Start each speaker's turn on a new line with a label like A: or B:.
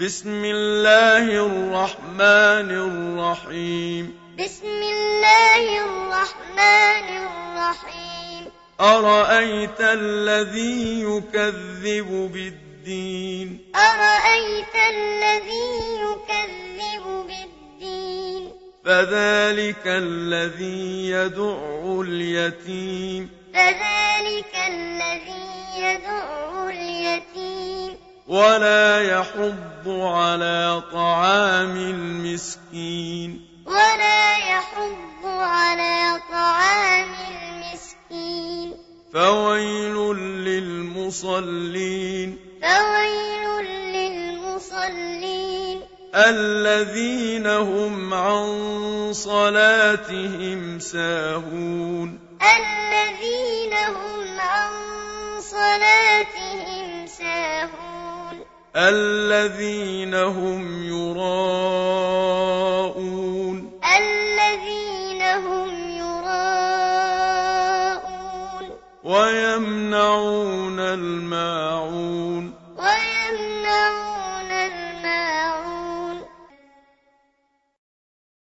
A: بسم الله الرحمن الرحيم
B: بسم الله الرحمن الرحيم
A: أرأيت الذي يكذب بالدين
B: أرأيت الذي يكذب بالدين
A: فذلك الذي يدع اليتيم
B: فذلك الذي يدع اليتيم
A: ولا يحض على طعام المسكين
B: ولا يحض على طعام المسكين
A: فويل للمصلين
B: فويل للمصلين
A: الذين هم عن صلاتهم ساهون
B: الذين هم عن صلاتهم ساهون
A: الذين هم يراءون
B: الذين هم يراءون
A: ويمنعون الماعون
B: ويمنعون